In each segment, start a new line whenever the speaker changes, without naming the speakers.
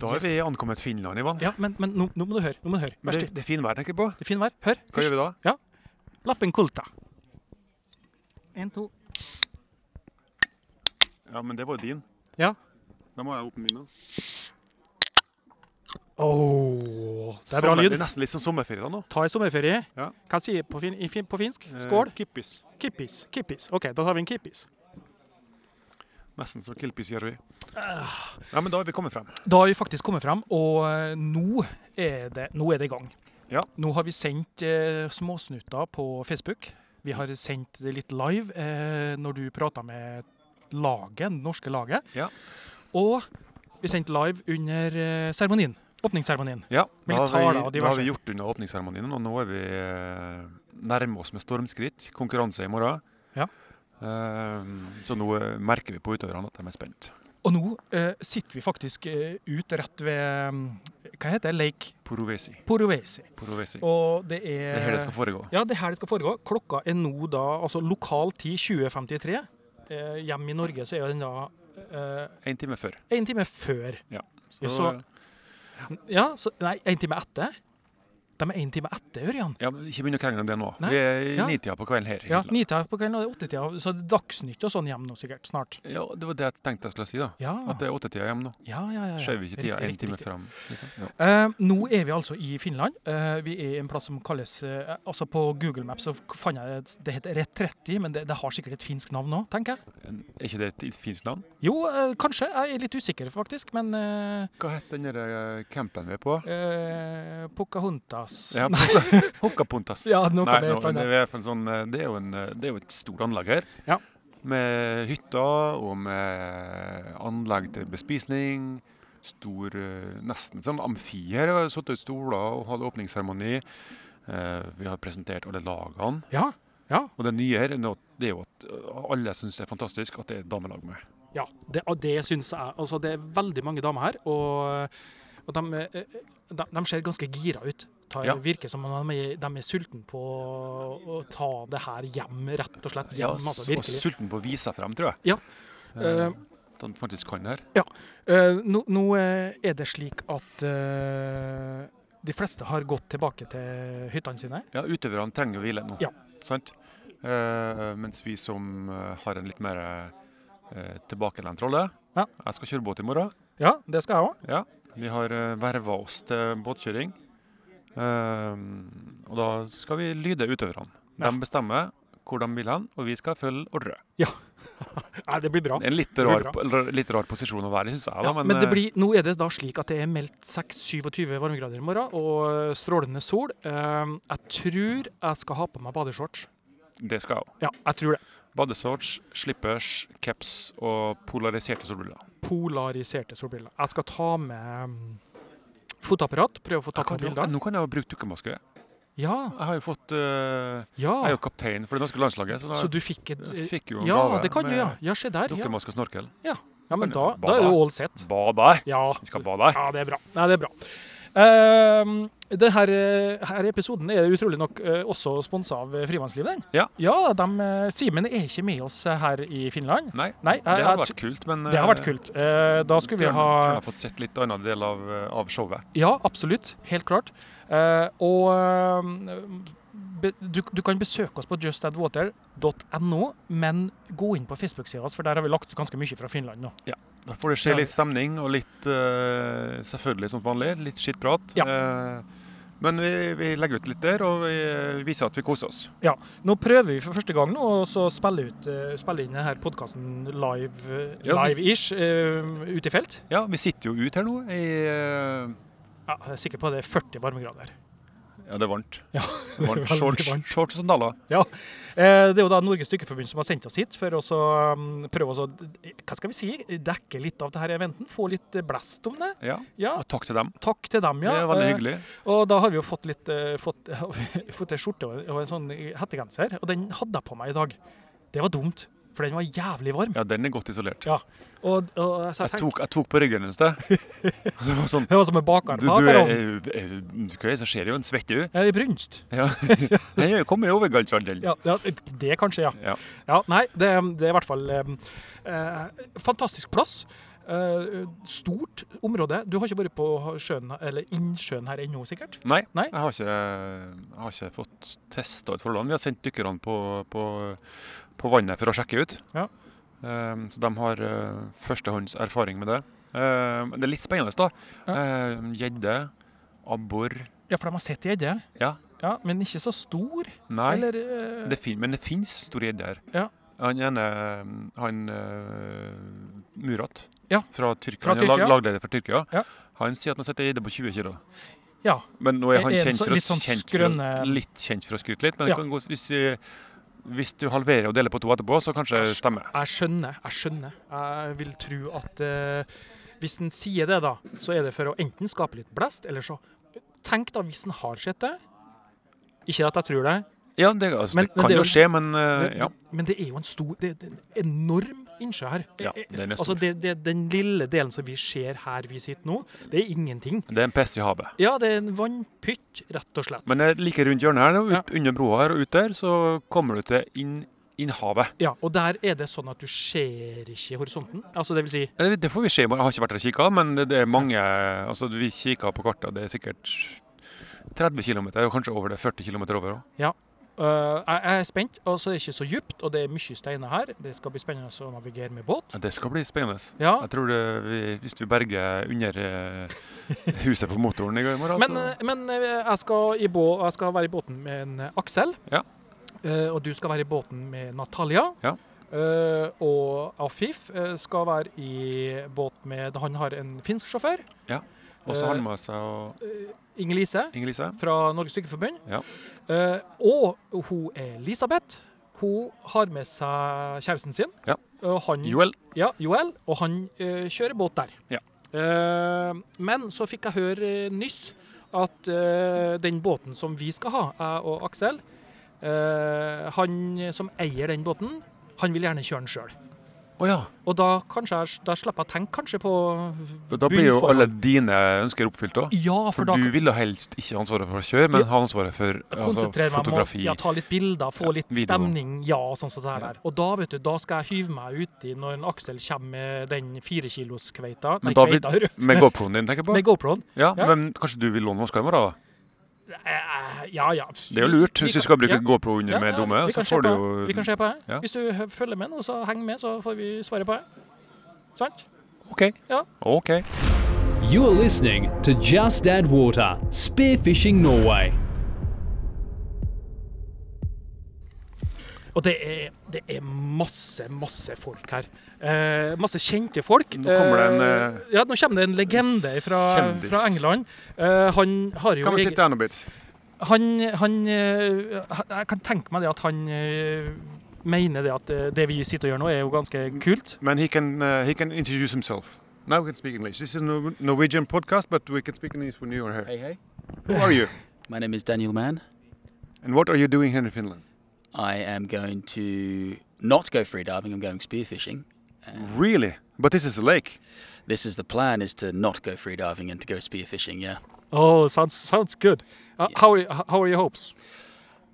Da er vi ankommet Finland, Ivan.
Ja, men, men nå, nå må du høre. Nå må du høre.
Men
Vær
det,
stille.
det er fin vær, tenker jeg på.
Det er fin vær. Hør.
Hva gjør vi da?
Ja. Lappen kulta. En, to.
Ja, men det var jo din.
Ja.
Da må jeg åpne min. da.
Åh, det er bra
Sommer-
lyd.
Det er nesten litt som sommerferie da nå.
Ta en sommerferie.
Ja.
Hva sier på, fin, i fin, på finsk? Skål.
Eh, kippis.
Kippis. Kippis. OK, da tar vi en kippis.
Nesten som kilpis gjør vi. Ja, men da er vi kommet frem.
Da har vi faktisk kommet fram, og eh, nå er det, nå er det i gang.
Ja.
Nå har vi sendt eh, småsnutter på Facebook. Vi har sendt det litt live eh, når du prata med laget, det norske laget.
Ja.
Og vi sendte live under eh, seremonien. Åpningsseremonien.
Ja,
Med
da
gitar,
har
da, og
vi, da har vi
diverse.
gjort unna åpningsseremonien, og nå er vi eh, nærme oss med stormskritt. Konkurranse i morgen.
Ja.
Eh, så nå eh, merker vi på utøverne at de er spent.
Og nå eh, sitter vi faktisk eh, ut rett ved mm, Hva heter det? Lake
Porovesi.
Porovesi.
Porovesi.
Og det
Det
er
er her det skal foregå.
Ja, det er her det skal foregå. Klokka er nå da altså lokal tid 20.53. Eh, hjemme i Norge så er den da eh,
En time før.
en time før. Ja, så- Ja, så Nei, en time etter. De er en time etter, Ørjan.
Ja, men Ikke begynn å krangle om det nå.
Nei.
Vi er i
Ja.
nitida på kvelden her. i
Ja,
Finland.
Nitida på kvelden og det er åttetida, så det er Dagsnytt og sånn hjemme nå sikkert snart.
Ja, det var det jeg tenkte jeg skulle si, da.
Ja,
At det er åttetida hjem nå.
ja, ja. ja, ja.
Skjøv vi ikke tida
Riktig,
en
riktig,
time
riktig.
fram. Liksom. Ja.
Eh, nå er vi altså i Finland. Eh, vi er i en plass som kalles eh, Altså på Google Maps så fant jeg et- Det heter Retretti, men det, det har sikkert et finsk navn òg, tenker jeg.
En- Er ikke det et finsk navn?
Jo, eh, kanskje. Jeg er litt usikker, faktisk. Men eh,
Hva het den der eh, campen vi er på?
Eh, Pocahontas.
Ja,
Nei,
Hockapuntas.
ja, noe
Nei,
med et
nå,
eller
det,
annet.
er i hvert fall sånn, eh, det, er jo en, eh, det er jo et stort anlegg her.
Ja.
Med hytter og med anlegg til bespisning. Stor eh, Nesten som amfi her. Vi har satt ut stoler og hatt åpningsseremoni. Eh, Vi har presentert alle lagene.
Ja, ja,
Og det nye her er nå- det er jo at eh, alle syns det er fantastisk at det er damelag med.
ja. Det, og det syns jeg. Altså, det er veldig mange damer her, og, og de, eh, de, de ser ganske gira ut. Ta,
Ja.
Virker som om de er, de er sultne på å ta det her hjem, rett og slett.
Ja,
Hjem, altså,
s- og
virkelig.
sulten på å vise seg frem, tror jeg.
Ja.
Eh, at han faktisk kan det her.
Eh, nå, nå eh, er det slik at eh, de fleste har gått tilbake til hyttene sine.
Ja, utøverne trenger jo hvile nå.
Ja.
Sant? Eh, mens vi som eh, har en litt mer eh, tilbakelent rolle
Ja.
Jeg skal kjøre båt i morgen.
Ja, det skal jeg òg.
Ja. Vi har uh, verva oss til båtkjøring. Eh, og da skal vi lyde utøverne.
Ja.
De bestemmer hvor de vil hen, og vi skal følge ordre.
Nei, det blir bra.
Det er en litt
blir
rar,
bra.
po- eller litt rar posisjon å være i, syns jeg. Da, øh,
Ja, men det blir, nå er det da slik at det er meldt 6-27 varmegrader i morgen og eh, strålende sol. Ehm, jeg tror jeg skal ha på meg badeshorts.
eh, det skal jeg òg.
Ja, jeg tror det.
Badeshorts, slippers, caps og polariserte solbriller.
Polariserte solbriller. Jeg skal ta med mm, fotoapparat. Prøve å få
Jeg
tatt
kan
noen
jo-
bilder.
Nå kan jeg jo bruke dukkemaske.
Ja,
Jeg har jo fått eh, Jeg er
ja.
jo kaptein for det norske landslaget, så da
Ah. Så du fikk et
jeg fikk jo en
Ja,
gave
det kan du,
med
ja. Ja, se der. Ja,
dukkemaske og snorkel.
ja men da, da
Bada.
er det all set.
Bad der!
Ja.
Vi skal bade der.
Ja, det er bra. Nei, det er bra. Ehm, det her, eh, her episoden er utrolig nok eh, også sponsa av eh, Frivannslivet. den.
Ja.
ja de, eh, Simen er ikke med oss eh, her i Finland.
Nei,
Nei, jeg-
det
jeg
hadde vært kult, men
Det har vært kult. Eh, Da skulle vi ha
Kunne fått sett litt annen del av, eh, av showet.
Ja, absolutt. Helt klart. Eh, Og eh, be- du, du kan besøke oss på justadwater.no, men gå inn på Facebook-sida vår, for der har vi lagt ut ganske mye fra Finland nå.
Da får det
Ja.
skje litt stemning og litt eh, Selvfølgelig som vanlig, litt skittprat.
Ja.
Eh, men vi, vi legger ut litt der, og vi eh, viser at vi koser oss.
Nå prøver vi for første gang nå å så spille, ut, eh, spille inn denne podkasten live, eh,
Ja, vi-
live-ish eh, ute i felt.
Ja, vi sitter jo ute her nå i eh,
Ja, jeg er sikker på at det er 40 varmegrader.
Ja, det er varmt.
Ja,
Det er varmt.
veldig
Shorts,
varmt.
shorts og sandaler.
Eh, Det er jo da Norges Dykkerforbund som har sendt oss hit for å så, um, prøve å så, hva skal vi si, dekke litt av det her eventen. Få litt eh, blest om det.
Ja.
Ja,
Og takk til dem.
takk til dem, ja.
det er veldig
Eh,
hyggelig.
Og da har vi jo fått litt eh, fått, fått en skjorte og en- og en sånn hettegenser, og den hadde jeg på meg i dag. Det var dumt, for den var jævlig varm.
Ja, den er godt isolert.
Ja. Og, og så jeg
Jeg
tenkte,
tok, jeg tok på ryggen en sted. Det var sånn
det var som en
Du,
bakerpakke.
du
da.
er, er, er, hva er det som skjer? Jo, en svetter, du.
Jeg er Eh, i brunst.
Ja. Jeg kommer i overgangsalderen.
Ja, ja, det kanskje, ja.
Ja.
ja nei, det, det er i hvert fall eh, eh, fantastisk plass. Eh, stort område. Du har ikke vært på sjøen, eller innsjøen her ennå, sikkert?
Nei,
Nei.
Jeg, har ikke, jeg har ikke fått testa ut forholdene. Vi har sendt dykkerne på, på, på vannet for å sjekke ut.
Ja.
Ehm, så de har eh, førstehånds erfaring med det. Ehm, det er litt spennende, da.
Ja.
Ehm, Gjedde, abbor
Ja, for de har sett gjedde.
Ja.
ja. Men ikke så stor?
Nei,
Eller eh,
det fin, men det fins store gjedder.
Ja.
Han ene han, eh, Murat
Ja.
fra Tyrkia,
Fra
han er lag,
Tyrkia.
lagleder for Tyrkia,
Ja.
han sier at han setter gjedde på 20 kg.
Ja.
Men nå er han
Er det
kjent
så-
for, å,
litt sånn
kjent, for å,
skrøne-
litt kjent for å skryte litt. Men
Ja.
det kan gå, hvis, eh, hvis du halverer og deler på to etterpå, så kanskje det stemmer.
Jeg skjønner, jeg skjønner. Jeg vil tro at eh, hvis en sier det, da, så er det for å enten skape litt blest, eller så Tenk da hvis en har sett det. Ikke at jeg tror det,
Ja, det, altså,
Men-
det
men
kan
det er
jo skje, men eh,
men,
ja.
men det er jo en stor Det det er en enorm innsjø her.
Ja, det er nesten.
altså det, det, Den lille delen som vi ser her vi sitter nå, det er ingenting.
Det er en piss i havet.
Ja, det er en vannpytt, rett og slett.
Men det er like rundt hjørnet her, ut, under broa her og ut der, så kommer du til inn, inn havet.
Ja, Og der er det sånn at du ser ikke horisonten. Altså det vil si
Eller, Det får vi se. i morgen. Jeg har ikke vært der og kikka, men det, det er mange Altså, vi kikka på kartet, og det er sikkert 30 km, og kanskje over det. 40 km over òg.
øh, jeg, jeg er spent, og så er det ikke så djupt, og det er mye steiner her. Det skal bli spennende å navigere med båt.
Det skal bli spennende.
Ja,
Jeg tror det, vi, hvis vi berger under eh, huset på motoren i går morgen,
men,
så
eh, men eh, jeg, skal i bå jeg skal være i båten med en eh, Aksel.
Ja.
Eh, og du skal være i båten med Natalia.
Ja.
Eh, og Afif eh, skal være i båt med Han har en finsk sjåfør.
eh, Og så har han med seg og
Inger-Lise
Inger-Lise.
fra Norges Stykkeforbund.
Ja.
Eh, og hun Elisabeth. Hun har med seg kjæresten sin.
Ja.
Og han,
Joel.
Ja, Joel. Og han eh, kjører båt der.
Ja.
Eh, men så fikk jeg høre eh, nyss at eh, den båten som vi skal ha, jeg og Aksel eh, Han som eier den båten, han vil gjerne kjøre den sjøl.
Å ja.
Og da, kanskje jeg, da slipper jeg å tenke kanskje på
Da blir jo
bunnforhold.
alle dine ønsker oppfylt òg.
Ja, for,
For
da
du ville helst ikke ha ansvaret for å kjøre, men ha ansvaret for altså,
konsentrere meg om å
fotografi.
ja, ta litt bilder, få
Ja,
litt
video.
stemning. Ja, og sånn som det her
Ja.
der. Og da vet du, da skal jeg hyve meg uti når en Aksel kommer med den firekiloskveita
Men
Nei,
da blir-
kveita, hører du.
Med GoProen din, tenker jeg på.
Med GoProen.
Ja,
ja.
Men kanskje du vil låne maska i morgen? da?
Eh, Ja, ja.
Det er jo lurt.
Vi kan-
Hvis du skal bruke
ja.
GoPro under
Ja,
med
ja,
dumme,
vi
så
kan se
får du
på
jo
det. Vi kan se på det.
Ja.
Hvis du hø- følger med nå, så heng med, så får vi svare på det. Sant?
OK.
Ja.
OK.
You are listening to Just Add Water, Spearfishing Norway.
Og det er, det er masse, masse folk her. Eh, masse kjente folk.
Nå kommer det en,
Eh, ja, nå kommer det en legende fra,
kjendis.
fra England. Eh, han har jo
Kan vi
egen-
sitte her nå litt?
han, han eh, Jeg kan tenke meg det at han eh, mener det at eh, det vi sitter og gjør nå, er jo ganske kult.
Men he can uh, he can introduce himself. Now we can speak English. This is a Nor- Norwegian podcast, but we can speak English when you are here.
Hey, hey.
Who are you?
My name is Daniel Mann.
And what are you doing here in Finland?
I am going to not go freediving. I'm going spearfishing.
Really? But this is a lake.
This is the plan: is to not go freediving and to go spearfishing. Yeah.
Oh, sounds, sounds good. Uh, how, are, how are your hopes?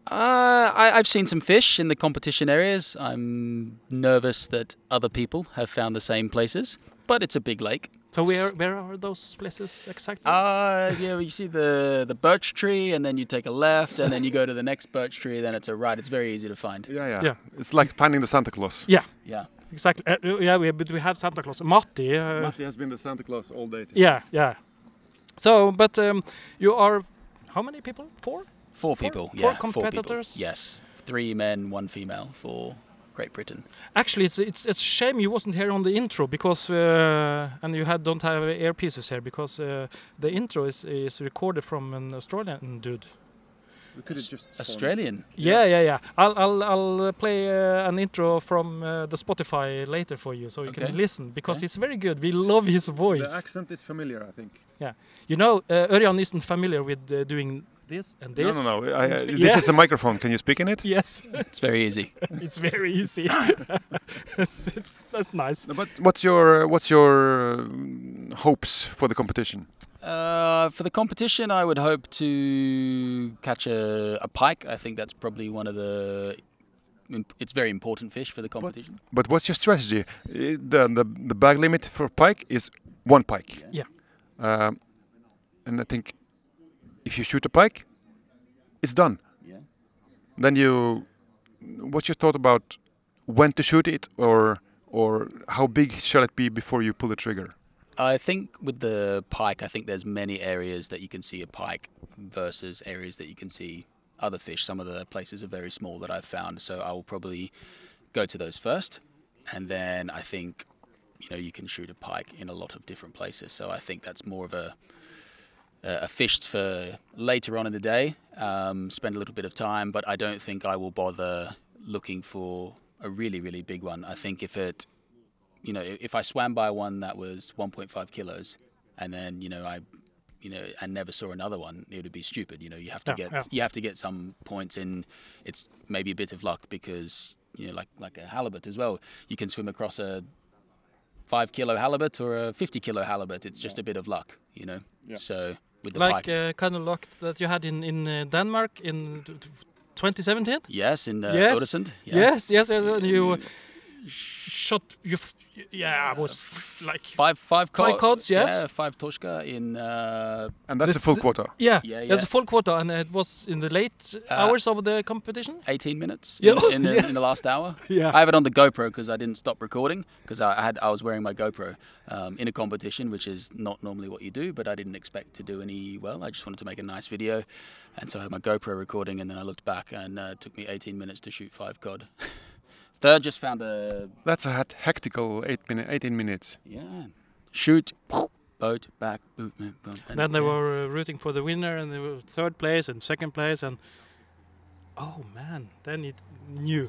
Uh, I, I've seen some fish in the competition areas. I'm nervous that other people have found the same places, but it's a big lake.
So where, where are those places exactly?
Uh, yeah, well, you see the the birch tree, and then you take a left, and then you go to the next birch tree, then it's a right. It's very easy to find.
Yeah, yeah.
Yeah.
It's like finding the Santa Claus.
yeah,
Yeah.
exactly. Uh, yeah, we, but we have Santa Claus. Matti. Uh,
Matti has been the Santa Claus all day. today.
Yeah, yeah. So, but um, you are how many people? Four?
Four
Four-
people.
four
yeah,
competitors?
Four people. Yes, three men, one female for Great Britain.
Actually, it's it's it's a shame you wasn't here on the intro because uh, and you had don't have earpieces here because uh, the intro is is recorded from an Australian dude.
We could have just. formed-
Australian.
Yeah, yeah, yeah. I'll I'll I'll play uh, an intro from uh, the Spotify later for you, so you
Okay.
can listen because
Okay.
it's very good. We love his
The
voice.
accent is familiar, I think.
You know, uh, Örjan isn't familiar with uh, doing this and this.
No, no, no. I, I,
Speak-
this
Yeah.
is the microphone. Can you speak in it?
Yes,
It's very easy.
it's very easy. it's, it's, that's nice.
No, but what's your what's your um, hopes for the competition?
Uh, for the competition, I would hope to catch a, a pike. I think that's probably one of the. imp- It's very important fish for the competition.
But what's your strategy? Uh, The the, the bag limit for pike is one pike.
Yeah.
Um, and I think if you shoot a pike, it's done.
Yeah.
Then you, what's your thought about when to shoot it or or how big shall it be before you pull the trigger?
I think with the pike, I think there's many areas that you can see a pike versus areas that you can see other fish. Some of the places are very small that I've found, so I will probably go to those first, and then I think you know you can shoot a pike in a lot of different places. So I think that's more of a a fish for later on in the day. Um, spend a little bit of time, but I don't think I will bother looking for a really really big one. I think if it you know, if I swam by one that was 1.5 kilos, and then you know I, you know, and never saw another one, it would be stupid. You know, you have to
Yeah,
get
yeah.
you have to get some points in. It's maybe a bit of luck because you know, like like a halibut as well, you can swim across a five kilo halibut or a 50 kilo halibut. It's just a bit of luck, you know. So with the
Like
pike,
uh, kind of luck that you had in in uh, Denmark in t- t- 2017.
yes, in uh,
yes,
Odesund, yeah.
Yes, yes, yes. and You uh, shot you. F- yeah, I was f- like.
Five, five,
Five cods, yes.
Yeah, five torska in uh,
And that's a
That's
full
the-
quota.
Yeah,
Yeah,
there's
yeah.
a full quota, and it was in the late
Uh,
hours of the competition.
18 minutes
Yeah.
in, in, the, in the last hour.
Yeah.
I have it on the GoPro because I didn't stop recording because I I had I was wearing my GoPro um, in a competition, which is not normally what you do, but I didn't expect to do any well. I just wanted to make a nice video, and so I had my GoPro recording, and then I looked back, and uh, it took me 18 minutes to shoot five cod. Third, just found a
That's a hec- hectical eight minute, 18 minutes.
yeah shoot boat back boot boom, boom, and-
then they
yeah.
were uh, rooting for the winner, and they were third place and second place, and oh man, then it knew.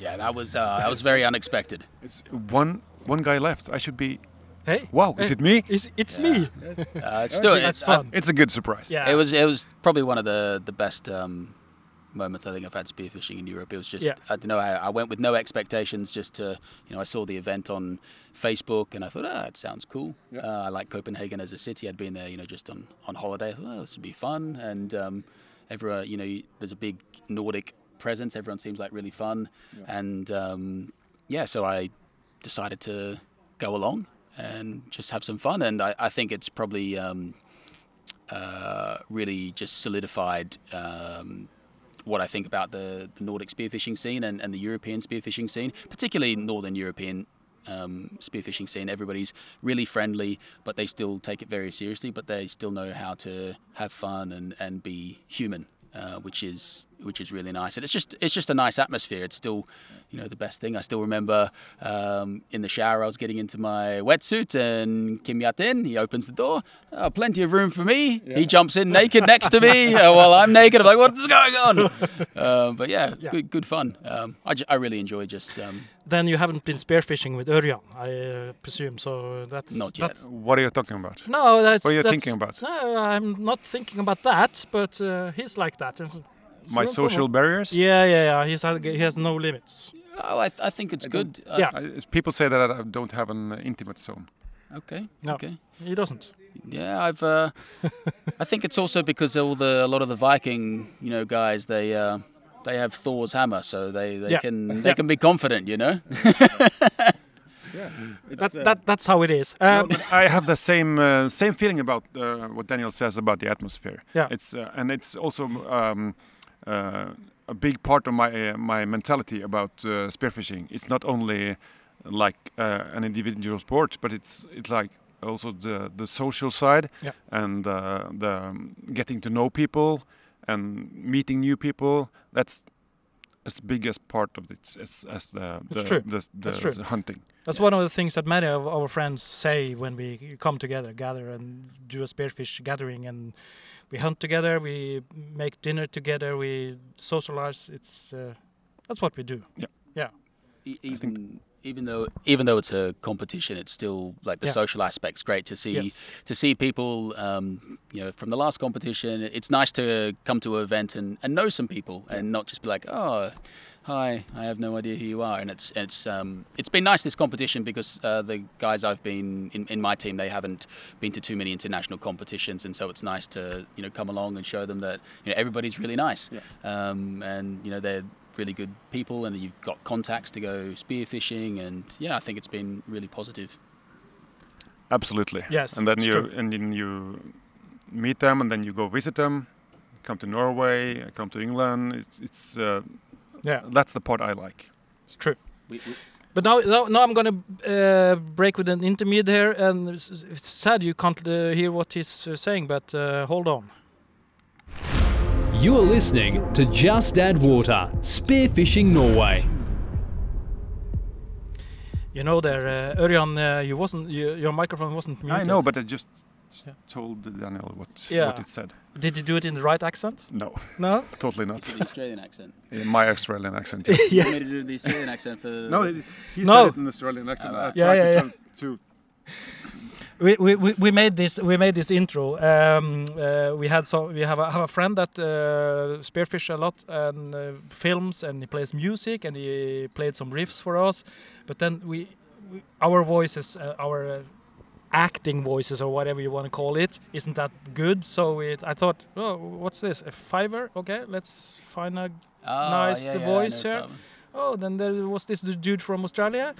yeah that was uh, that was very unexpected. Uh,
It's one one guy left. I should be.
Hey,
Wow, is
Hey.
it me?
it's, it's
Yeah.
me.
Uh, it's still
That's
it's- I-
fun.
It's a good surprise.
yeah,
It was it was probably one of the the best um, moments I think I've had spearfishing in Europe. It was just
Yeah.
I don't know I, I went with no expectations, just to you know I saw the event on Facebook and I thought ah it sounds cool.
Yeah.
Uh, I like Copenhagen as a city. I'd been there you know just on on holiday. I thought oh, this would be fun and um, everyone you know you- there's a big Nordic presence. Everyone seems like really fun and um, yeah so I decided to go along and just have some fun and I, I think it's probably um, uh, really just solidified um, what I think about the, the Nordic spearfishing scene and, and the European spearfishing scene, particularly Northern European um, spearfishing scene. Everybody's really friendly, but they still take it very seriously, but they still know how to have fun and, and be human. Uh, which is which is really nice, and it's just it's just a nice atmosphere. It's still, you know, the best thing. I still remember um, in the shower I was getting into my wetsuit, and Kim Yat in. He opens the door, oh, plenty of room for me. He jumps in naked next to me uh, while I'm naked. I'm like, what is going on? um, but yeah,
Yeah.
good good fun. Um, I, ju- I really enjoy just um,
Then you haven't been spearfishing with Örjan, I uh, presume. So that's
Not yet.
That's,
What are you talking about?
no, that's
What are you
that's-
thinking about?
No, I'm not thinking about that, but uh, he's like that.
My
Sure, sure.
social barriers?
Yeah, yeah, yeah. He's had, he has no limits.
Oh, I, I think it's
I don't-
good. Uh,
Yeah.
I, people say that I don't have an uh, intimate zone.
Okay.
No.
Okay.
He doesn't.
Yeah, I've. Uh, I think it's also because all the a lot of the Viking, you know, guys they uh, they have Thor's hammer, so they, they
Yeah.
can they
Yeah.
can be confident, you know.
That,
uh,
that, that's how it is. Um,
I have the same uh, same feeling about uh, what Daniel says about the atmosphere.
Yeah.
It's uh, and it's also um, uh, a big part of my uh, my mentality about uh, spearfishing. It's not only like uh, an individual sport, but it's it's like also the the social side
Yeah.
and uh, the um, getting to know people and meeting new people. That's as big as part of it as, as the
It's
the,
true.
the, the,
It's true.
hunting.
That's one of the things that many of our friends say when we come together, gather, and do a spearfish gathering and we hunt together, we make dinner together, we socialize. It's uh, that's what we do.
E-
think-
even even though even though it's a competition, it's still like the
Yeah.
social aspect's great to see
Yes.
to see people. Um, you know, from the last competition, it's nice to come to an event and, and know some people and not just be like, oh. Hi, I have no idea who you are, and it's it's um, it's been nice this competition because uh, the guys I've been in, in my team they haven't been to too many international competitions, and so it's nice to you know come along and show them that you know everybody's really nice,
Yeah.
um, and you know they're really good people, and you've got contacts to go spearfishing, and yeah, I think it's been really positive.
Absolutely.
Yes,
And then
it's
you
true.
and then you meet them, and then you go visit them. Come to Norway, come to England. It's, it's uh,
Yeah,
that's the part I like.
it's true. But now, now, now I'm gonna uh, break with an intermediate here, and it's, it's sad you can't uh, hear what he's uh, saying. But uh, hold on.
You're listening to Just Add Water, Spearfishing Norway.
You know there, uh, Örjan, uh, you wasn't you, your microphone wasn't muted.
I know, but I just s-
Yeah.
told Daniel what
Yeah.
what it said.
Did you do it in the right accent?
No,
No.
totally not.
the Australian accent.
In my Australian accent. yeah.
You want me to do the Australian accent for Oh, the-
No, it- he
No.
said it in Australian accent.
Ah,
I
right.
Yeah,
tried
yeah,
to,
yeah.
tran- to
we, we, we- we made this we made this intro. Um, uh, we had so we have a, have a friend that uh, spearfish a lot and uh, films and he plays music and he played some riffs for us. But then we, we our voices uh, our uh, acting voices or whatever you want to call it isn't that good. So it, I thought, oh, what's this? A fiver? Okay, let's find a
Ah,
Nice
yeah, yeah, I
voice
know
here.
from-
oh, then there was this d- dude from Australia,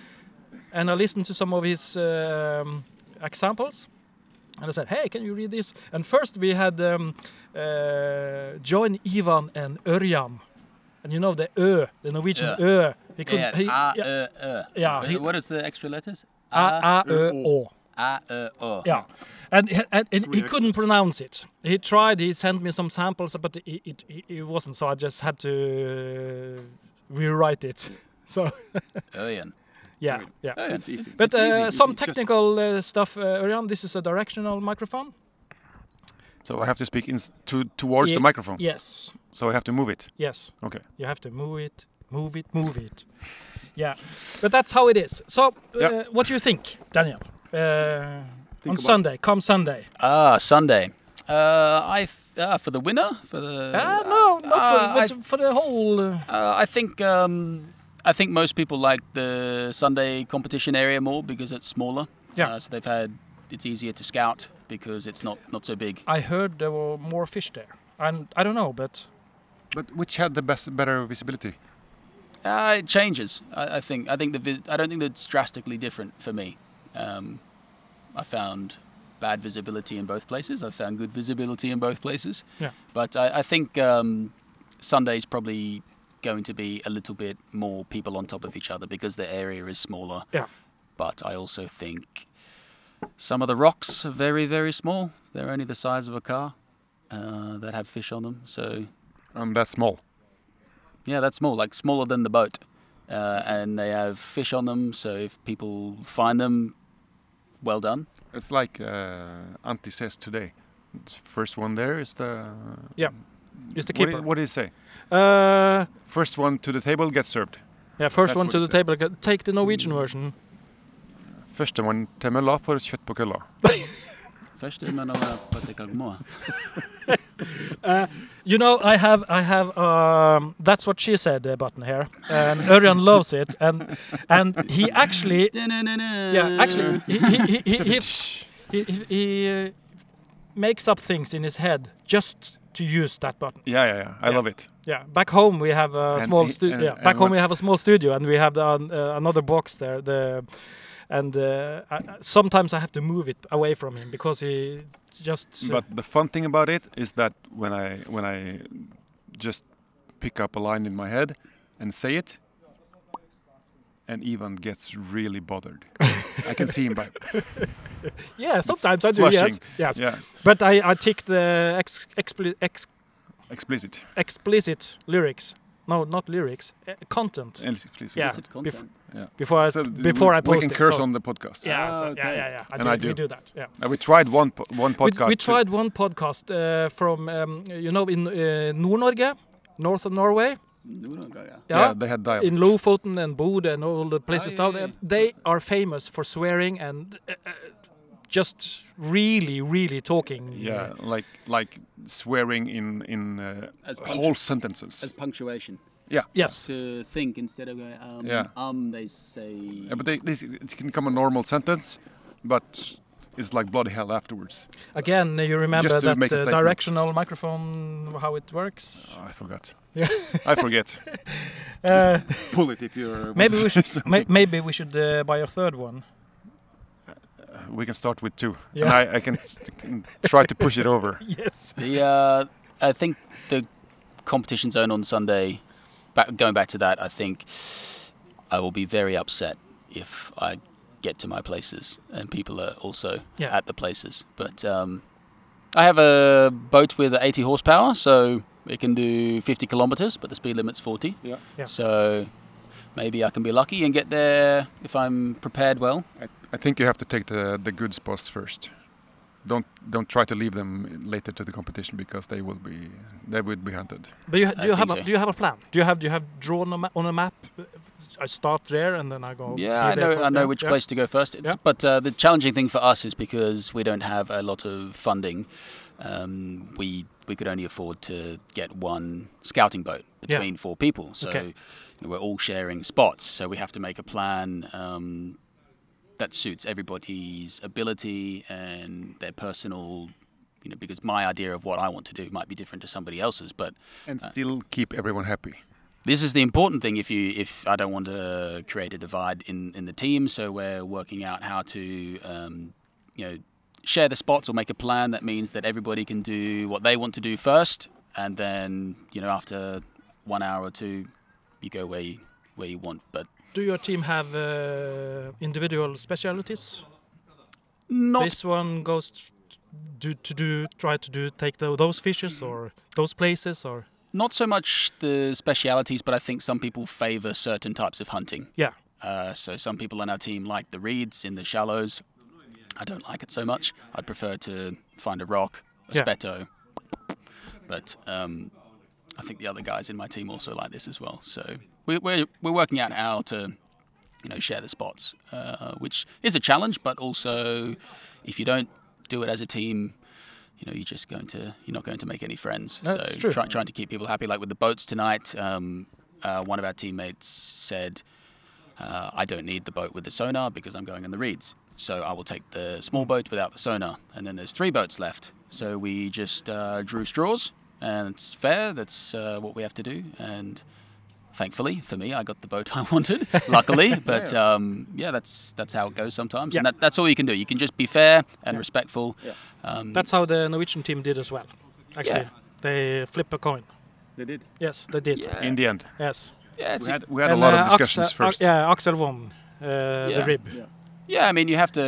and I listened to some of his um, examples, and I said, hey, can you read this? And first we had um, uh, John, Ivan, and Örjan, and you know the Ö, the Norwegian
Yeah.
Ö. He
Yeah,
he-
ah,
yeah,
uh, uh.
Yeah,
What-
he-
What is the extra letters?
A, A, Ö, Å.
Ah, uh, oh.
Yeah. And, he- and, and
Three
he couldn't
extras.
pronounce it. He tried, he sent me some samples, but it, it, it, it wasn't, so I just had to uh, rewrite it. So,
Örjan.
yeah, yeah.
Örjan.
It's easy.
Oh, But
It's easy,
uh, some
easy. Just-
technical uh, stuff, uh, Örjan. This is a directional microphone.
So I have to speak in, s- to, towards
Ye-
the microphone.
Yes,
So I have to move it.
yes.
Okay.
You have to move it, move it, move it. yeah, but that's how it is. So, uh,
Yeah.
what do you think, Daniel? Uh, on
about-
Sunday, come Sunday.
Ah, Sunday. Uh, I th- uh, for the winner for the.
Uh,
Ah, no, not
Ah,
for,
I,
but for the whole. Uh,
uh, I think um, I think most people like the Sunday competition area more because it's smaller.
Yeah.
Uh, so they've had it's easier to scout because it's not not so big.
Uh,
I heard there were more fish there. And I don't know, but
But which had the best, better visibility?
Uh, it changes. I, I think. I think the. Vis- I don't think that's drastically different for me. Um, I found bad visibility in both places. I found good visibility in both places.
Yeah.
But I, I think um, Sunday's probably going to be a little bit more people on top of each other because the area is smaller.
Yeah.
But I also think some of the rocks are very very small. They're only the size of a car. Uh, that have fish on them. So
And that's Um, small.
yeah, that's small, like smaller than the boat. Uh, and they have fish on them, so if people find them, well done.
It's like uh, Antti says today. It's first one there is the.
Yeah, it's the
What,
keeper.
i- what did he say?
Uh,
First one to the table gets served.
yeah, first
That's
one
what
to
he
the
said.
table. g- Take the Norwegian version.
Første mann til mølla får kjøtt på kølla.
Første mann over på det kalmoa.
You know, I have, I have. Um, that's what she said. Uh, button here, and Örjan loves it, and and he actually, yeah, actually, he he he he, he, he, he, he uh, makes up things in his head just to use that button.
Yeah, yeah, yeah. I
Yeah.
love it.
Yeah, back home we have a
And
small
he-
studio.
and-
Yeah,
and
back home
what-
we have a small studio, and we have the, an- uh, another box there. The and uh, I, I- sometimes I have to move it away from him because he just.
But the fun thing about it is that when I when I just pick up a line in my head and say it, and Ivan gets really bothered. I can see him by
yeah, sometimes I do. Yes,
flushing.
yes.
yeah,
But I I tick the ex, expli, ex,
explicit.
explicit lyrics. No, not lyrics. Uh, content.
And please,
Yeah.
Illicit content.
yeah.
Before I,
So d-
before
we,
I post
we can
it.
curse
so-
on the podcast.
yeah,
Ah,
so, yeah,
okay.
yeah, yeah. I
And
do,
I
We
do.
do that. Yeah.
Uh, we tried one po- one
We,
podcast.
we tried one podcast uh, from um, you know in uh, Nord-Norge, north of Norway.
No, we don't go there.
yeah,
Yeah.
they had dialect.
in Lofoten and Bodø and all the places
Ah, yeah,
down
yeah,
there, they are famous for swearing and uh, uh, just really, really talking.
yeah, like like swearing in in uh,
As punch-
whole sentences.
As punctuation.
Yes.
To think instead of going, um,
Yeah.
um, they say.
Yeah, but they, this it can come a normal sentence, but it's like bloody hell afterwards.
Again, you remember
Just to
that
make a
uh,
statement.
directional microphone, how it works.
Oh, I forgot.
Yeah.
I forget.
Uh,
Pull it if you're. uh,
maybe we should may, maybe we should uh, buy a third one.
Uh, We can start with two, and
Yeah.
I, I can s- can try to push it over.
Yes.
The uh, I think the competition zone on Sunday. Back, going back to that, I think I will be very upset if I get to my places and people are also
Yeah.
at the places. But um, I have a boat with 80 horsepower, so it can do 50 kilometers, but the speed limit's 40.
Yeah.
Yeah.
So maybe I can be lucky and get there if I'm prepared well.
I, I think you have to take the the good spots first. Don't don't try to leave them later to the competition because they will be they would be hunted.
But you, ha-
I
do you have
think
a,
so.
do you have a plan? Do you have do you have drawn a ma- on a map? I start there and then I go.
Yeah,
here,
I
there,
know,
from
I know
there.
which
Yeah.
place to go first. It's,
Yeah.
But uh, the challenging thing for us is because we don't have a lot of funding. Um, we we could only afford to get one scouting boat
Yeah.
between four people, so
Okay.
you know, we're all sharing spots. So we have to make a plan um, that suits everybody's ability and their personal. You know, because my idea of what I want to do might be different to somebody else's, but
And still keep everyone happy.
this is the important thing if you if I don't want to uh, create a divide in in the team so we're working out how to um, you know share the spots or make a plan that means that everybody can do what they want to do first and then you know after one hour or two you go where you, where you want but
Do your team have uh, individual specialities?
not
this one goes t- do to do try to do take tho- those fishes or those places or
not so much the specialities but I think some people favor certain types of hunting
yeah
Uh, so some people on our team like the reeds in the shallows. I don't like it so much. I'd prefer to find a rock, a
Yeah.
spetto. But um, I think the other guys in my team also like this as well. So we, we're we're working out how to, you know, share the spots, uh, which is a challenge. But also, if you don't do it as a team, you know, you're just going to you're not going to make any friends.
That's
so
true.
Try, trying to keep people happy, like with the boats tonight. Um, uh, one of our teammates said, uh, "I don't need the boat with the sonar because I'm going in the reeds, so I will take the small boat without the sonar." And then there's three boats left, so we just uh, drew straws, and it's fair. That's uh, what we have to do, and. Thankfully for me, I got the boat I wanted. Luckily, but um, yeah, that's that's how it goes sometimes, and
Yeah.
that, that's all you can do. You can just be fair and respectful. Um,
that's how the norwegian team did as well actually
Yeah.
they flip a coin
they did.
yes they did
Yeah,
In the end,
yes
yeah, it's
we
a-
had, we had a
And,
lot
uh,
of discussions
Axel-
first.
Ac- yeah axel won uh, the
Yeah.
rib
yeah. I mean, you have to.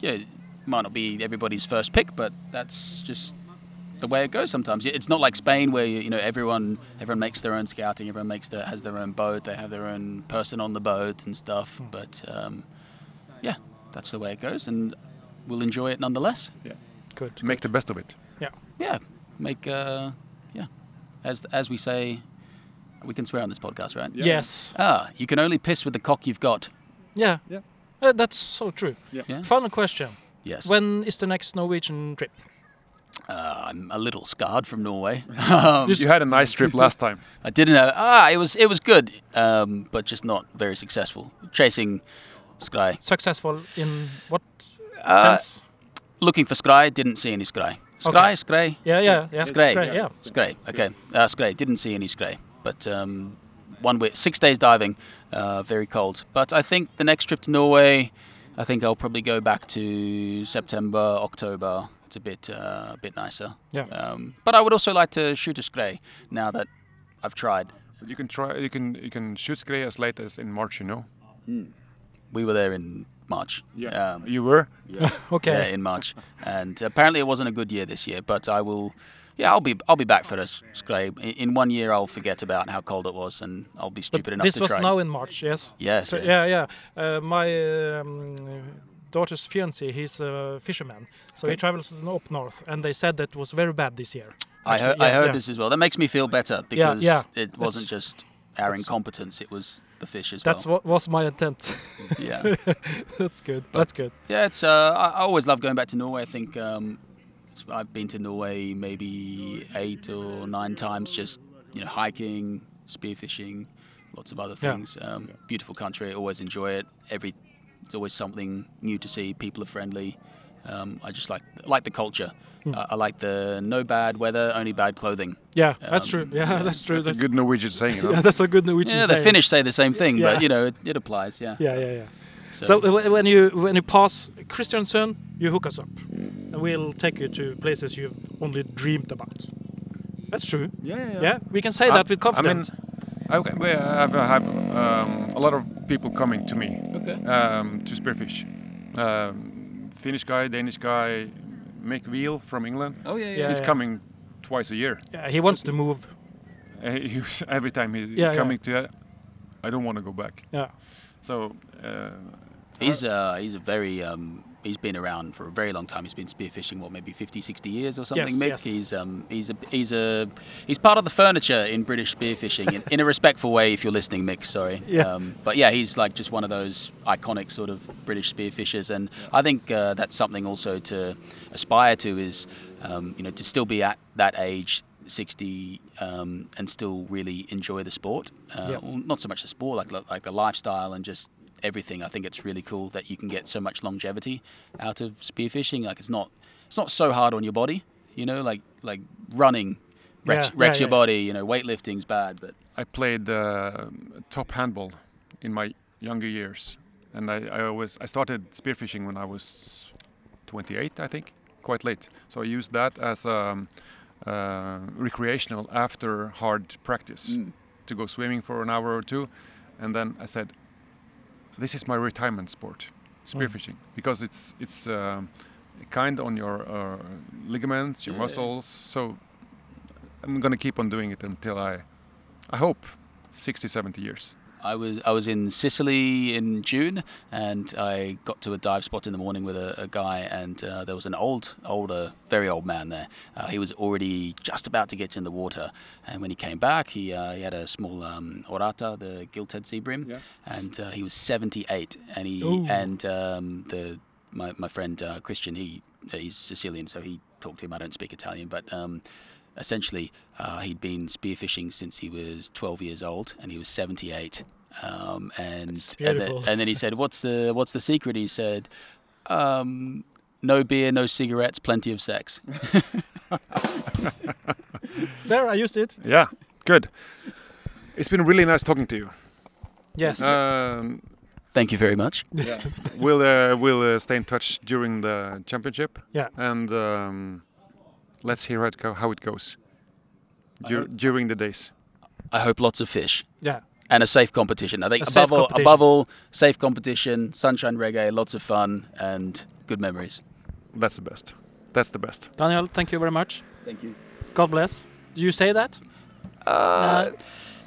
Yeah. it might not be everybody's first pick, but that's just the way it goes sometimes. It's not like Spain where you know everyone everyone makes their own scouting, everyone makes their has their own boat, they have their own person on the boat and stuff. But um, yeah, that's the way it goes, and we'll enjoy it nonetheless.
good
To make the best of it.
Yeah, make uh, yeah, as as we say, we can swear on this podcast, right?
yes
Ah, you can only piss with the cock you've got.
yeah,
Yeah.
Uh, that's so true
Yeah.
final question
Yes.
when is the next norwegian trip
Uh, I'm a little scarred from Norway. um,
You had a nice trip last time.
I didn't know. Ah, it was it was good, um, but just not very successful. Chasing Sky,
successful in what
Uh,
sense
looking for Sky, didn't see any Sky. Sky, Sky,
yeah yeah yeah
it's great.
yeah
Sky. Okay, uh, Sky didn't see any Sky, but um, one week, six days diving, uh, very cold. But I think the next trip to Norway, I think I'll probably go back to September, October. It's a bit uh, a bit nicer.
yeah
Um, but I would also like to shoot a Sky now that I've tried.
You can try. You can you can shoot Skrei as late as in March. You know.
We were there in March.
Yeah.
Um,
you were?
yeah, yeah,
Okay.
uh, in March. And apparently it wasn't a good year this year, but I will. Yeah, I'll be I'll be back for this, Scrape. In in one year, I'll forget about how cold it was, and I'll be stupid enough
this
to
was
try.
now in March, yes.
yes,
So,
yeah.
yeah, yeah. Uh, my um, daughter's fiance, he's a fisherman, so he
Okay.
travels up north, and they said that was very bad this year.
I heard,
Actually,
I
yeah,
heard
yeah.
this as well. That makes me feel better
Yeah,
because
yeah.
it wasn't
It's-
just our
it's-
incompetence; it was the fish as
That's
well.
what was my intent.
yeah,
That's good. That's
But-
good.
yeah. It's uh, I, I always love going back to Norway. I think um, it's- I've been to Norway maybe eight or nine times, just you know, hiking, spearfishing, lots of other
Yeah.
things. Um, Beautiful country. I always enjoy it. Every it's always something new to see. People are friendly. Um, I just like like the culture.
Hmm.
I, I like the no bad weather, only bad clothing.
Yeah, that's
Um,
true. Yeah, that's true.
That's, a good Norwegian saying, you know?
Yeah, that's a good Norwegian
yeah, the
saying.
Finnish say the same thing,
Yeah.
but you know it, it applies. Yeah.
Yeah, yeah, yeah.
So,
So uh, when you when you pass Kristiansund, you hook us up, and we'll take you to places you've only dreamed about. That's true.
yeah, Um,
Yeah, we can say that with confidence.
I mean, okay, we have, I have um, a lot of people coming to me
okay.
um, to spearfish. Um, Finnish guy, Danish guy, Mick Wheel from England.
Oh yeah, yeah.
Yeah.
He's coming twice a year.
Yeah, he wants to move.
Uh, he was- every time he's
Yeah, yeah.
coming to it, I don't want to go back.
Yeah.
So, uh,
he's uh, he's a very um, he's been around for a very long time. He's been spearfishing what maybe 50, 60 years or something.
Yes,
Mick.
yes.
He's um, he's a he's a he's part of the furniture in British spearfishing in, in a respectful way. If you're listening, Mick, sorry.
Yeah.
Um, but yeah, he's like just one of those iconic sort of British spearfishers, and I think uh, that's something also to aspire to is um, you know to still be at that age. 60 um, and still really enjoy the sport uh,
Yeah.
well, not so much the sport, like like the lifestyle and just everything. I think it's really cool that you can get so much longevity out of spearfishing. Like it's not it's not so hard on your body, you know. Like like running wrecks,
Yeah, yeah,
wrecks your
yeah.
body. You know, weightlifting's bad, but
I played uh, top handball in my younger years, and I, I always I started spearfishing when I was 28, I think, quite late. So I used that as um, uh, recreational after hard practice to go swimming for an hour or two, and then I said, "This is my retirement sport, spearfishing, because it's it's um, kind on your uh, ligaments, your
Yeah.
muscles. So I'm gonna keep on doing it until I, I hope, 60, 70 years.
I was I was in Sicily in June, and I got to a dive spot in the morning with a, a guy, and uh, there was an old, older, very old man there. Uh, he was already just about to get in the water, and when he came back, he uh, he had a small um, orata, the gilt-head sea bream,
Yeah.
and uh, he was 78, and he
Ooh.
and um, the my my friend uh, Christian, he he's Sicilian, so he talked to him. I don't speak Italian, but. Um, essentially uh, he'd been spearfishing since he was 12 years old and he was 78 um, and
That's
and, then,
beautiful.
and then he said what's the what's the secret he said um, no beer no cigarettes plenty of sex
There, I used it.
Yeah, good. It's been really nice talking to you.
Yes.
Um,
thank you very much
we'll uh, we'll uh, stay in touch during the championship.
Yeah.
And um, let's hear how it, go, how it goes Dur-
hope-
during the days.
i hope lots of fish
yeah.
and a safe competition i think
A safe
above all
competition.
above all safe competition sunshine reggae lots of fun and good memories
That's the best. That's the best.
Daniel, thank you very much.
thank you
God bless. Do you say that? Uh,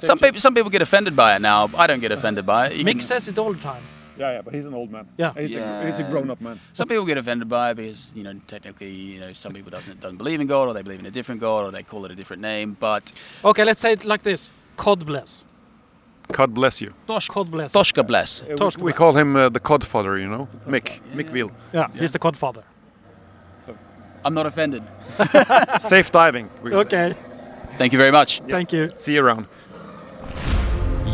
some people some people get offended by it now i don't get offended by it You
Mick
can-
says it all the time.
Yeah, yeah, but he's an old man.
Yeah.
He's, A, he's a
Yeah.
grown-up man.
Some people get offended by it because you know technically you know some people doesn't doesn't believe in God or they believe in a different God or they call it a different name. But
Okay, let's say it like this. God bless.
God bless you.
God bless.
Toshka bless.
Uh,
Torsk
we, we
bless.
call him uh, the Codfather, you know? Mick. Mick Wheel.
Yeah, he's the Godfather.
I'm not offended.
Safe diving. we can say.
Okay,
Thank you very much.
thank you.
See you around.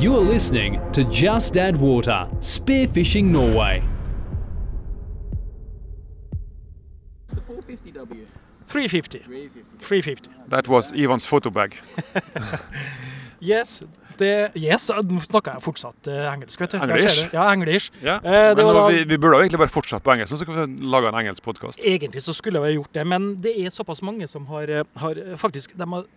You are listening to Just Add Water, Spearfishing Norway.
450W,
350.
350.
350.
That was Ivan's photo bag.
Yes, det, yes, nå snakker jeg fortsatt eh, engelsk, vet du. Der
English?
ser du. Ja, english.
Ja.
Eh, det
Men
var
nå,
da-
vi, vi burde jo egentlig bare fortsatt på engelsk, så kan vi lage en engelsk podkast.
Egentlig så skulle jeg jo ha gjort det, men det er såpass mange som har, eh, har eh, faktisk de har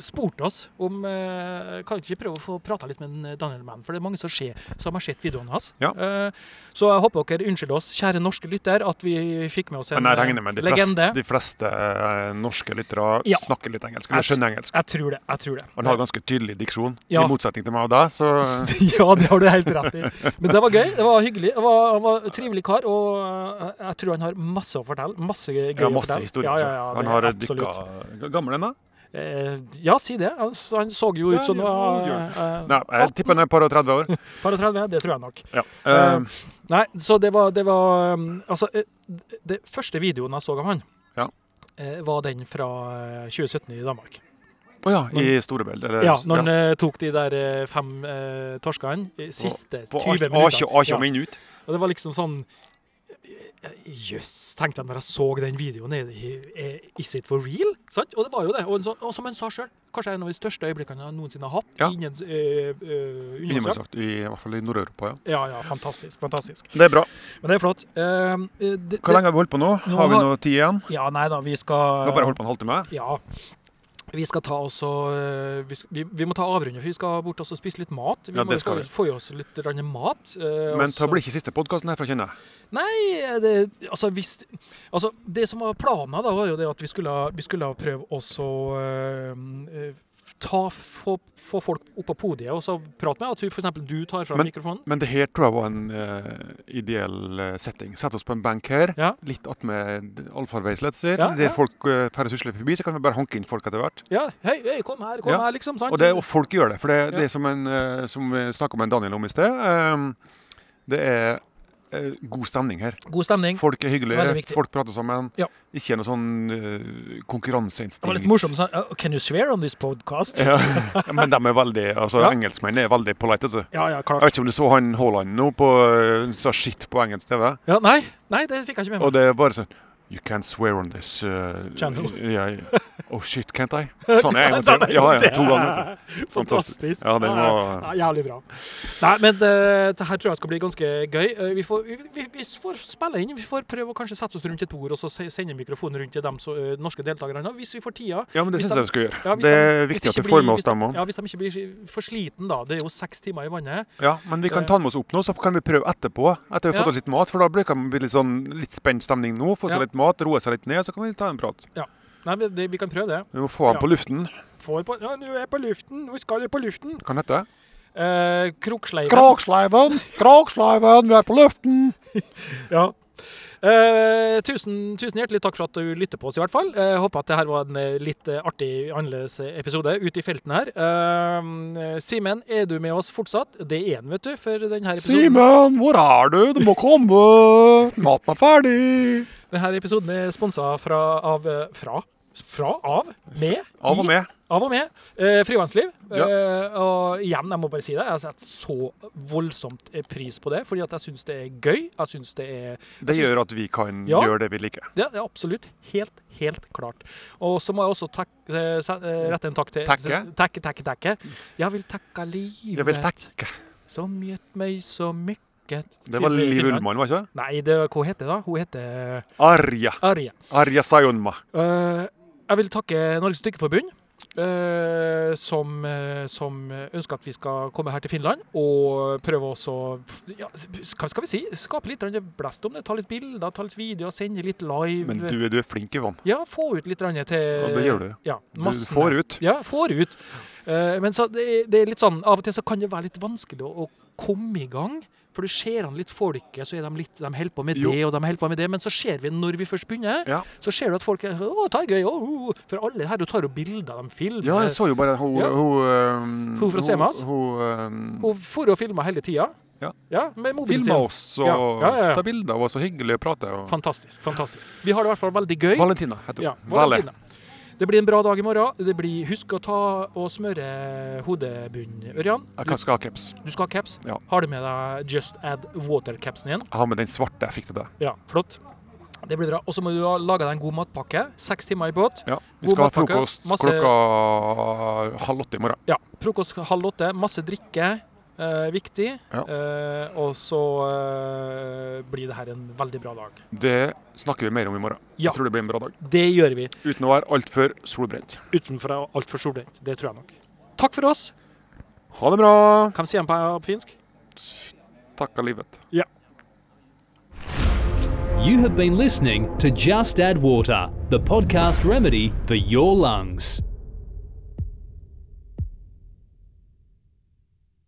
spurte oss om eh, Kan ikke prøve å få prata litt med en Daniel Mann, for det er mange som, ser, som har sett videoene hans.
Ja.
Eh, så jeg håper dere unnskylder oss, kjære norske lytter, at vi fikk med oss en
Men jeg regner
eh,
med de fleste,
legende.
de fleste eh, norske lyttere
Ja.
snakker litt engelsk, eller skjønner engelsk.
Jeg tror det. jeg tror det.
Han har ganske tydelig diksjon,
Ja.
i motsetning til meg og deg. Så
ja, det har du helt rett i. Men det var gøy. Det var hyggelig. Det var, han var en trivelig kar, og eh, jeg tror han har masse å fortelle. Masse gøy
jeg har
å
masse
fortelle. Ja,
historier.
ja, ja,
han
det-
har
absolutt.
dykka Gammel en, da?
Eh, ja, si det. Altså, han så jo
Ja,
ut som
ja,
han var
oldgjort.
eh,
Nei, jeg tipper han er et par og 30 år.
par og 30, det tror jeg nok.
Ja.
Eh,
Eh,
Nei, så det var, det var um, Altså, eh, det første videoen jeg så av han,
Ja.
eh, var den fra eh, 2017 i Danmark.
Å ja, i Storebeld. Eller,
Ja, når
ja.
han eh, tok de der eh, fem eh, torskene eh, siste
På
20
A- A-
minutter.
A- A- minut.
Og det var liksom sånn eh, Jøss, tenkte jeg når jeg så den videoen. Er det, er, is it for real? Sant? Og det var jo det. Og, en sånn- og som han sa sjøl, kanskje en av de største øyeblikkene jeg noensinne har hatt.
Ja.
Ingen eh, eh,
Innimellom
undersøkt.
sagt, I hvert fall i Nord-Europa, ja.
Ja, ja, fantastisk. fantastisk.
Det er bra.
Men det er flott. Eh, eh, det-
Hvor lenge har vi holdt på
Nå
nå? Har vi
har-
noe tid igjen?
Ja, nei da, vi
Vi
skal
har bare holdt på en halvtime.
Ja. Vi skal ta oss og eh, vi, sk- vi, vi må ta avrunde, for vi skal bort oss og spise litt mat. Vi
Ja,
må
det
jo
skal
få, få i oss litt grann mat. eh, og
Men det
så-
blir ikke siste podkasten herfra, kjenner jeg.
Nei, det, altså hvis Altså, det som var planen da, var jo det at vi skulle, vi skulle prøve også eh, eh, ta, få, få folk opp på podiet og så prate med. At du- for eksempel du tar fra
Men-
mikrofonen.
Men det her tror jeg var en eh, ideell eh, setting. Sett oss på en benk her,
Ja.
litt attmed allfarveis, let's say.
Ja,
der
ja.
folk uh, færre susler forbi, så kan vi bare hanke inn folk etter hvert.
Ja, hei, hei, kom her, kom
Ja.
her, liksom. Sant?
Og, det, og folk gjør det. For det,
Ja.
det er som, en, eh, som vi snakka med Daniel om i sted. ehm, det er eh, god stemning her.
God stemning.
Folk er
Veldig
hyggelige,
viktig.
folk prater sammen.
Ja.
Ikke noe sånn eh, konkurranseinstinkt.
Det var litt morsomt. Sånn, «Oh, can you swear on this podcast?
Ja. Men de er veldig, altså
Ja.
engelskmenn er veldig polite. vet du.
Ja, ja,
Jeg
klart.
vet ikke om du så han Haaland nå på eh, sa shit på engelsk TV.
Ja, nei, nei, det fikk jeg ikke med
Og
meg.
det er bare sånn You can't swear on this uh,
Channel.
ja, ja. Oh shit, can't I? Sånn er jeg. vet du. Ja, ja, to ganger. vet du.
Fantastisk.
Ja, det var-
Ja, jævlig bra. Nei, men det, det her tror jeg skal bli ganske gøy. Eh, Vi får, vi, vi, vi får spille inn. Vi får prøve å kanskje sette oss rundt et bord og så se- sende mikrofonen rundt til de så, eh, norske deltakerne. Og Hvis vi får tida.
Ja, men det
Hvis de-
syns jeg vi skal gjøre.
Ja, hvis
det
de-
er
hvis
viktig
det
at
ikke
vi får med
blir-
oss dem òg.
Ja, Hvis de ikke blir for sliten, da. Det er jo seks timer i vannet.
Ja, men vi kan
Eh.
ta med oss opp nå, så kan vi prøve etterpå. Etter vi har
Ja.
fått oss litt mat, for da blir det kan bli litt sånn litt spent stemning nå. Få
Ja.
seg litt mat, roe seg litt ned, så kan vi ta en prat.
Nei, vi, det, vi kan prøve det.
Vi må få han
Ja.
på luften.
Får på, ja, nå er jeg på luften. Nå skal jeg på luften.
Hva han heter
Eh, Kroksleiven.
Kraksleiven! Kraksleiven, vi er på luften!
Ja. Eh, tusen, tusen hjertelig takk for at du lytter på oss, i hvert fall. Eh, håper at det her var en eh, litt eh, artig, annerledes eh, episode ute i felten her. Eh, Simen, er du med oss fortsatt? Det er han, vet du, for denne episoden,
Simen, hvor er du? Du må komme! Maten er ferdig!
denne episoden er sponsa fra, av eh, Fra? Fra? Av? Med?
Av og
i-
med.
Av og med. Eh, Frivannsliv.
Ja.
Eh, og igjen, jeg må bare si det, jeg setter så voldsomt eh, pris på det, fordi at jeg syns det er gøy. Jeg syns det er
Det gjør at vi kan
Ja.
gjøre det vi liker.
Ja, det er absolutt. Helt, helt klart. Og så må jeg også tak, eh, sa- eh, rette en takk til
Takke?
Takke, takke, takke. Jeg vil takke livet
Jeg vil takke.
som gitt meg så mykket.
Det var
Sier vi i
Liv
Finland.
Ullmann, var det ikke? det?
Nei, det, hva heter det da? Hun heter eh,
Arja.
Arje.
Arja Sayonma.
Eh, jeg vil takke Norges Dykkerforbund. eh, som, eh, som ønsker at vi skal komme her til Finland og prøve også å f- ja, Hva skal vi si? Skape litt grann blest om det. Ta litt bilder, ta litt videoer, sende litt live.
Men du, du er flink, Ivan.
Ja, få ut litt grann til
Ja, det gjør du.
Ja,
Du
massen
får
her.
ut.
Ja, får ut. Eh, men så det, er- det er litt sånn, av og til så kan det være litt vanskelig å, å komme i gang. For du ser an litt folket, så er de litt, de holder på med
Jo.
det og de holder på med det. Men så ser vi når vi først begynner,
Ja.
så ser du at folk er Å, det er gøy. Å, å», for alle her du tar jo bilder, eh, de filmer.
Ja, jeg så jo bare hun
Ja.
Hun, ehm,
Hun fra Semas?
Hun, ehm,
Hun for og filma hele tida.
Ja.
med mobilen
filma
sin.
oss og
Ja, ja, ja, ja.
ta bilder av oss og hyggelig å prate. Og...
Fantastisk. fantastisk. Vi har det i hvert fall veldig gøy.
Valentina heter hun.
Ja,
Vale.
Valentina. Det blir en bra dag i morgen. Det blir, husk å ta og smøre hodebunn, Ørjan.
Jeg kan skal ha caps.
Du skal ha caps.
Ja.
Har du med deg Just Add Water-capsen igjen?
Jeg har med den svarte jeg fikk til deg.
Ja, flott. Det blir bra. Og så må du ha laga deg en god matpakke. Seks timer i båt.
Ja. Vi
God
skal ha
matpakke,
frokost
masse-
klokka halv åtte i morgen.
Ja, Frokost halv åtte, masse drikke. eh, eh, viktig.
Ja.
Eh, og så eh, blir det her en veldig bra dag.
Det snakker vi mer om i morgen.
Ja.
Jeg tror det blir en bra dag.
Det gjør vi
Uten å være altfor solbrent.
utenfor altfor solbrent. Det tror jeg nok. Takk for oss.
Ha det bra!
Hva sier man på på finsk?
Takka livet.
You have been listening to Just Add Water, the podcast remedy for your lungs.